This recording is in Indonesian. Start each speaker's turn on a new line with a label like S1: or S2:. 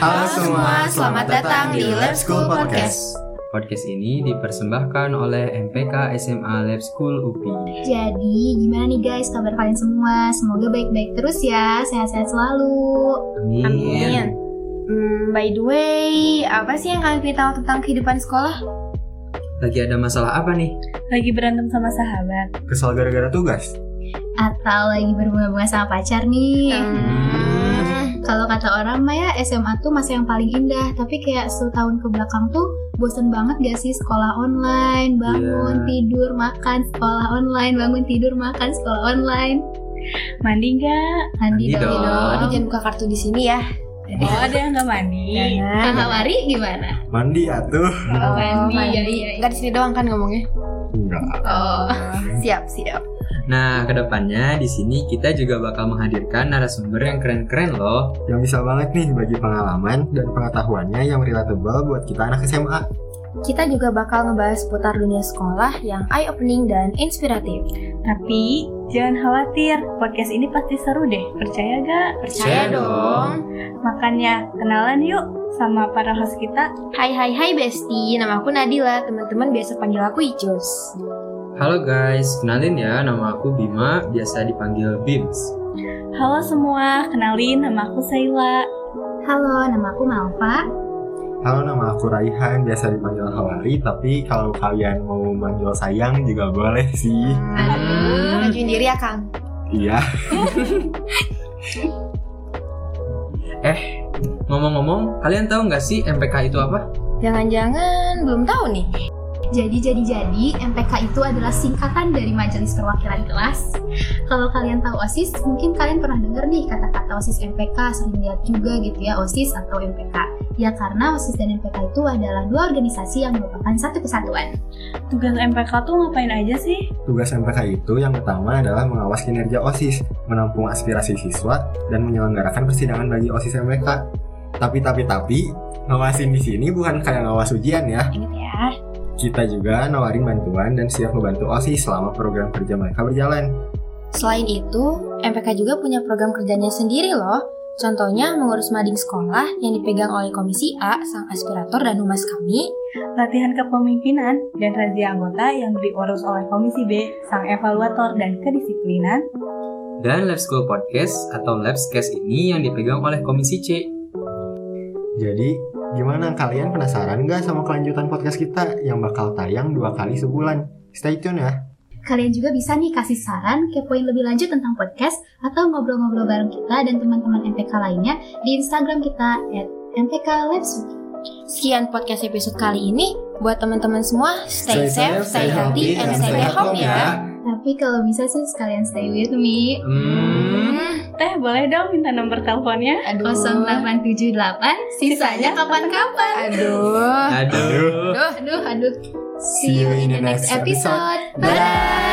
S1: Halo semua, selamat datang di Lab School Podcast.
S2: Podcast ini dipersembahkan oleh MPK SMA Lab School UPI.
S3: Jadi gimana nih guys kabar kalian semua? Semoga baik-baik terus ya, sehat-sehat selalu.
S2: Amin.
S1: Amin. Hmm, by the way, apa sih yang kalian pengen tahu tentang kehidupan sekolah?
S2: Lagi ada masalah apa nih?
S4: lagi berantem sama sahabat.
S5: Kesal gara-gara tugas?
S3: Atau lagi berbunga-bunga sama pacar nih.
S1: Hmm.
S3: Kalau kata orang mah ya SMA tuh masa yang paling indah, tapi kayak setahun ke belakang tuh bosen banget gak sih sekolah online,
S2: Iya.
S3: bangun, tidur, makan, sekolah online, bangun, tidur, makan, sekolah online.
S4: Mandi nggak?
S3: Mandi
S2: Mandi
S3: dong.
S2: dong.
S1: Aduh, jangan buka kartu di sini ya.
S4: Oh ada yang nggak
S3: Iya,
S4: mandi?
S1: Jangan.
S3: Kakak Wari gimana?
S5: Mandi atuh.
S4: Oh, mandi,
S3: iya, iya, iya.
S1: Nggak di sini doang kan ngomongnya?
S5: Enggak.
S3: Oh,
S1: Siap, siap.
S2: Nah, kedepannya di sini kita juga bakal menghadirkan narasumber yang keren-keren loh.
S5: Yang bisa banget nih bagi pengalaman dan pengetahuannya yang relatable buat kita anak SMA.
S1: Kita juga bakal ngebahas seputar dunia sekolah yang eye opening dan inspiratif.
S4: Tapi jangan khawatir, podcast ini pasti seru deh. Percaya gak?
S2: Percaya dong.
S4: Makanya kenalan yuk sama para host kita.
S1: Hai hai hai Besti, nama aku Nadila. Teman-teman biasa panggil aku Icus.
S2: Halo guys, kenalin ya nama aku Bima, biasa dipanggil Bims.
S4: Halo semua, kenalin nama aku Saila.
S3: halo, nama aku Malva.
S5: Halo, nama aku Raihan, biasa dipanggil Hawari, tapi kalau kalian mau manggil sayang juga boleh sih.
S1: Aduh, majuin diri ya Kang.
S5: Iya.
S2: Ngomong-ngomong, kalian tahu nggak sih MPK itu apa?
S1: Jangan-jangan belum tahu nih.
S3: Jadi jadi jadi MPK itu adalah singkatan dari Majelis Perwakilan Kelas. Kalau kalian tahu OSIS, mungkin kalian pernah dengar nih kata-kata OSIS MPK sering lihat juga gitu ya OSIS atau MPK. Ya karena OSIS dan MPK itu adalah dua organisasi yang merupakan satu kesatuan.
S4: Tugas MPK tuh ngapain aja sih?
S5: Tugas MPK itu yang pertama adalah mengawas kinerja OSIS, menampung aspirasi siswa, dan menyelenggarakan persidangan bagi OSIS MPK. Tapi, tapi, tapi, ngawasin di sini bukan kayak ngawas ujian ya.
S1: Ingat ya.
S5: Kita juga nawarin bantuan dan siap membantu OSIS selama program kerja mereka berjalan.
S1: Selain itu, MPK juga punya program kerjanya sendiri loh. Contohnya mengurus mading sekolah yang dipegang oleh Komisi A, sang aspirator dan humas kami.
S4: Latihan kepemimpinan dan razia anggota yang diurus oleh Komisi B, sang evaluator dan kedisiplinan.
S2: Dan Lab School Podcast atau Labscast ini yang dipegang oleh Komisi C.
S5: Jadi, gimana kalian penasaran nggak sama kelanjutan podcast kita yang bakal tayang dua kali sebulan? Stay tune ya.
S3: Kalian juga bisa nih kasih saran, kepoin lebih lanjut tentang podcast atau ngobrol-ngobrol bareng kita dan teman-teman MPK lainnya di Instagram kita @mpklabs.
S1: Sekian podcast episode kali ini. Buat teman-teman semua, stay, safe, stay healthy, and stay at home ya.
S3: Tapi kalau bisa sih sekalian stay with me.
S2: Hmm.
S4: Teh boleh dong minta nomor teleponnya?
S1: Aduh.
S3: 0878 sisanya kapan-kapan.
S1: Aduh.
S2: Aduh.
S1: Aduh.
S3: Oh. Aduh, aduh. See you in the next episode. Bye.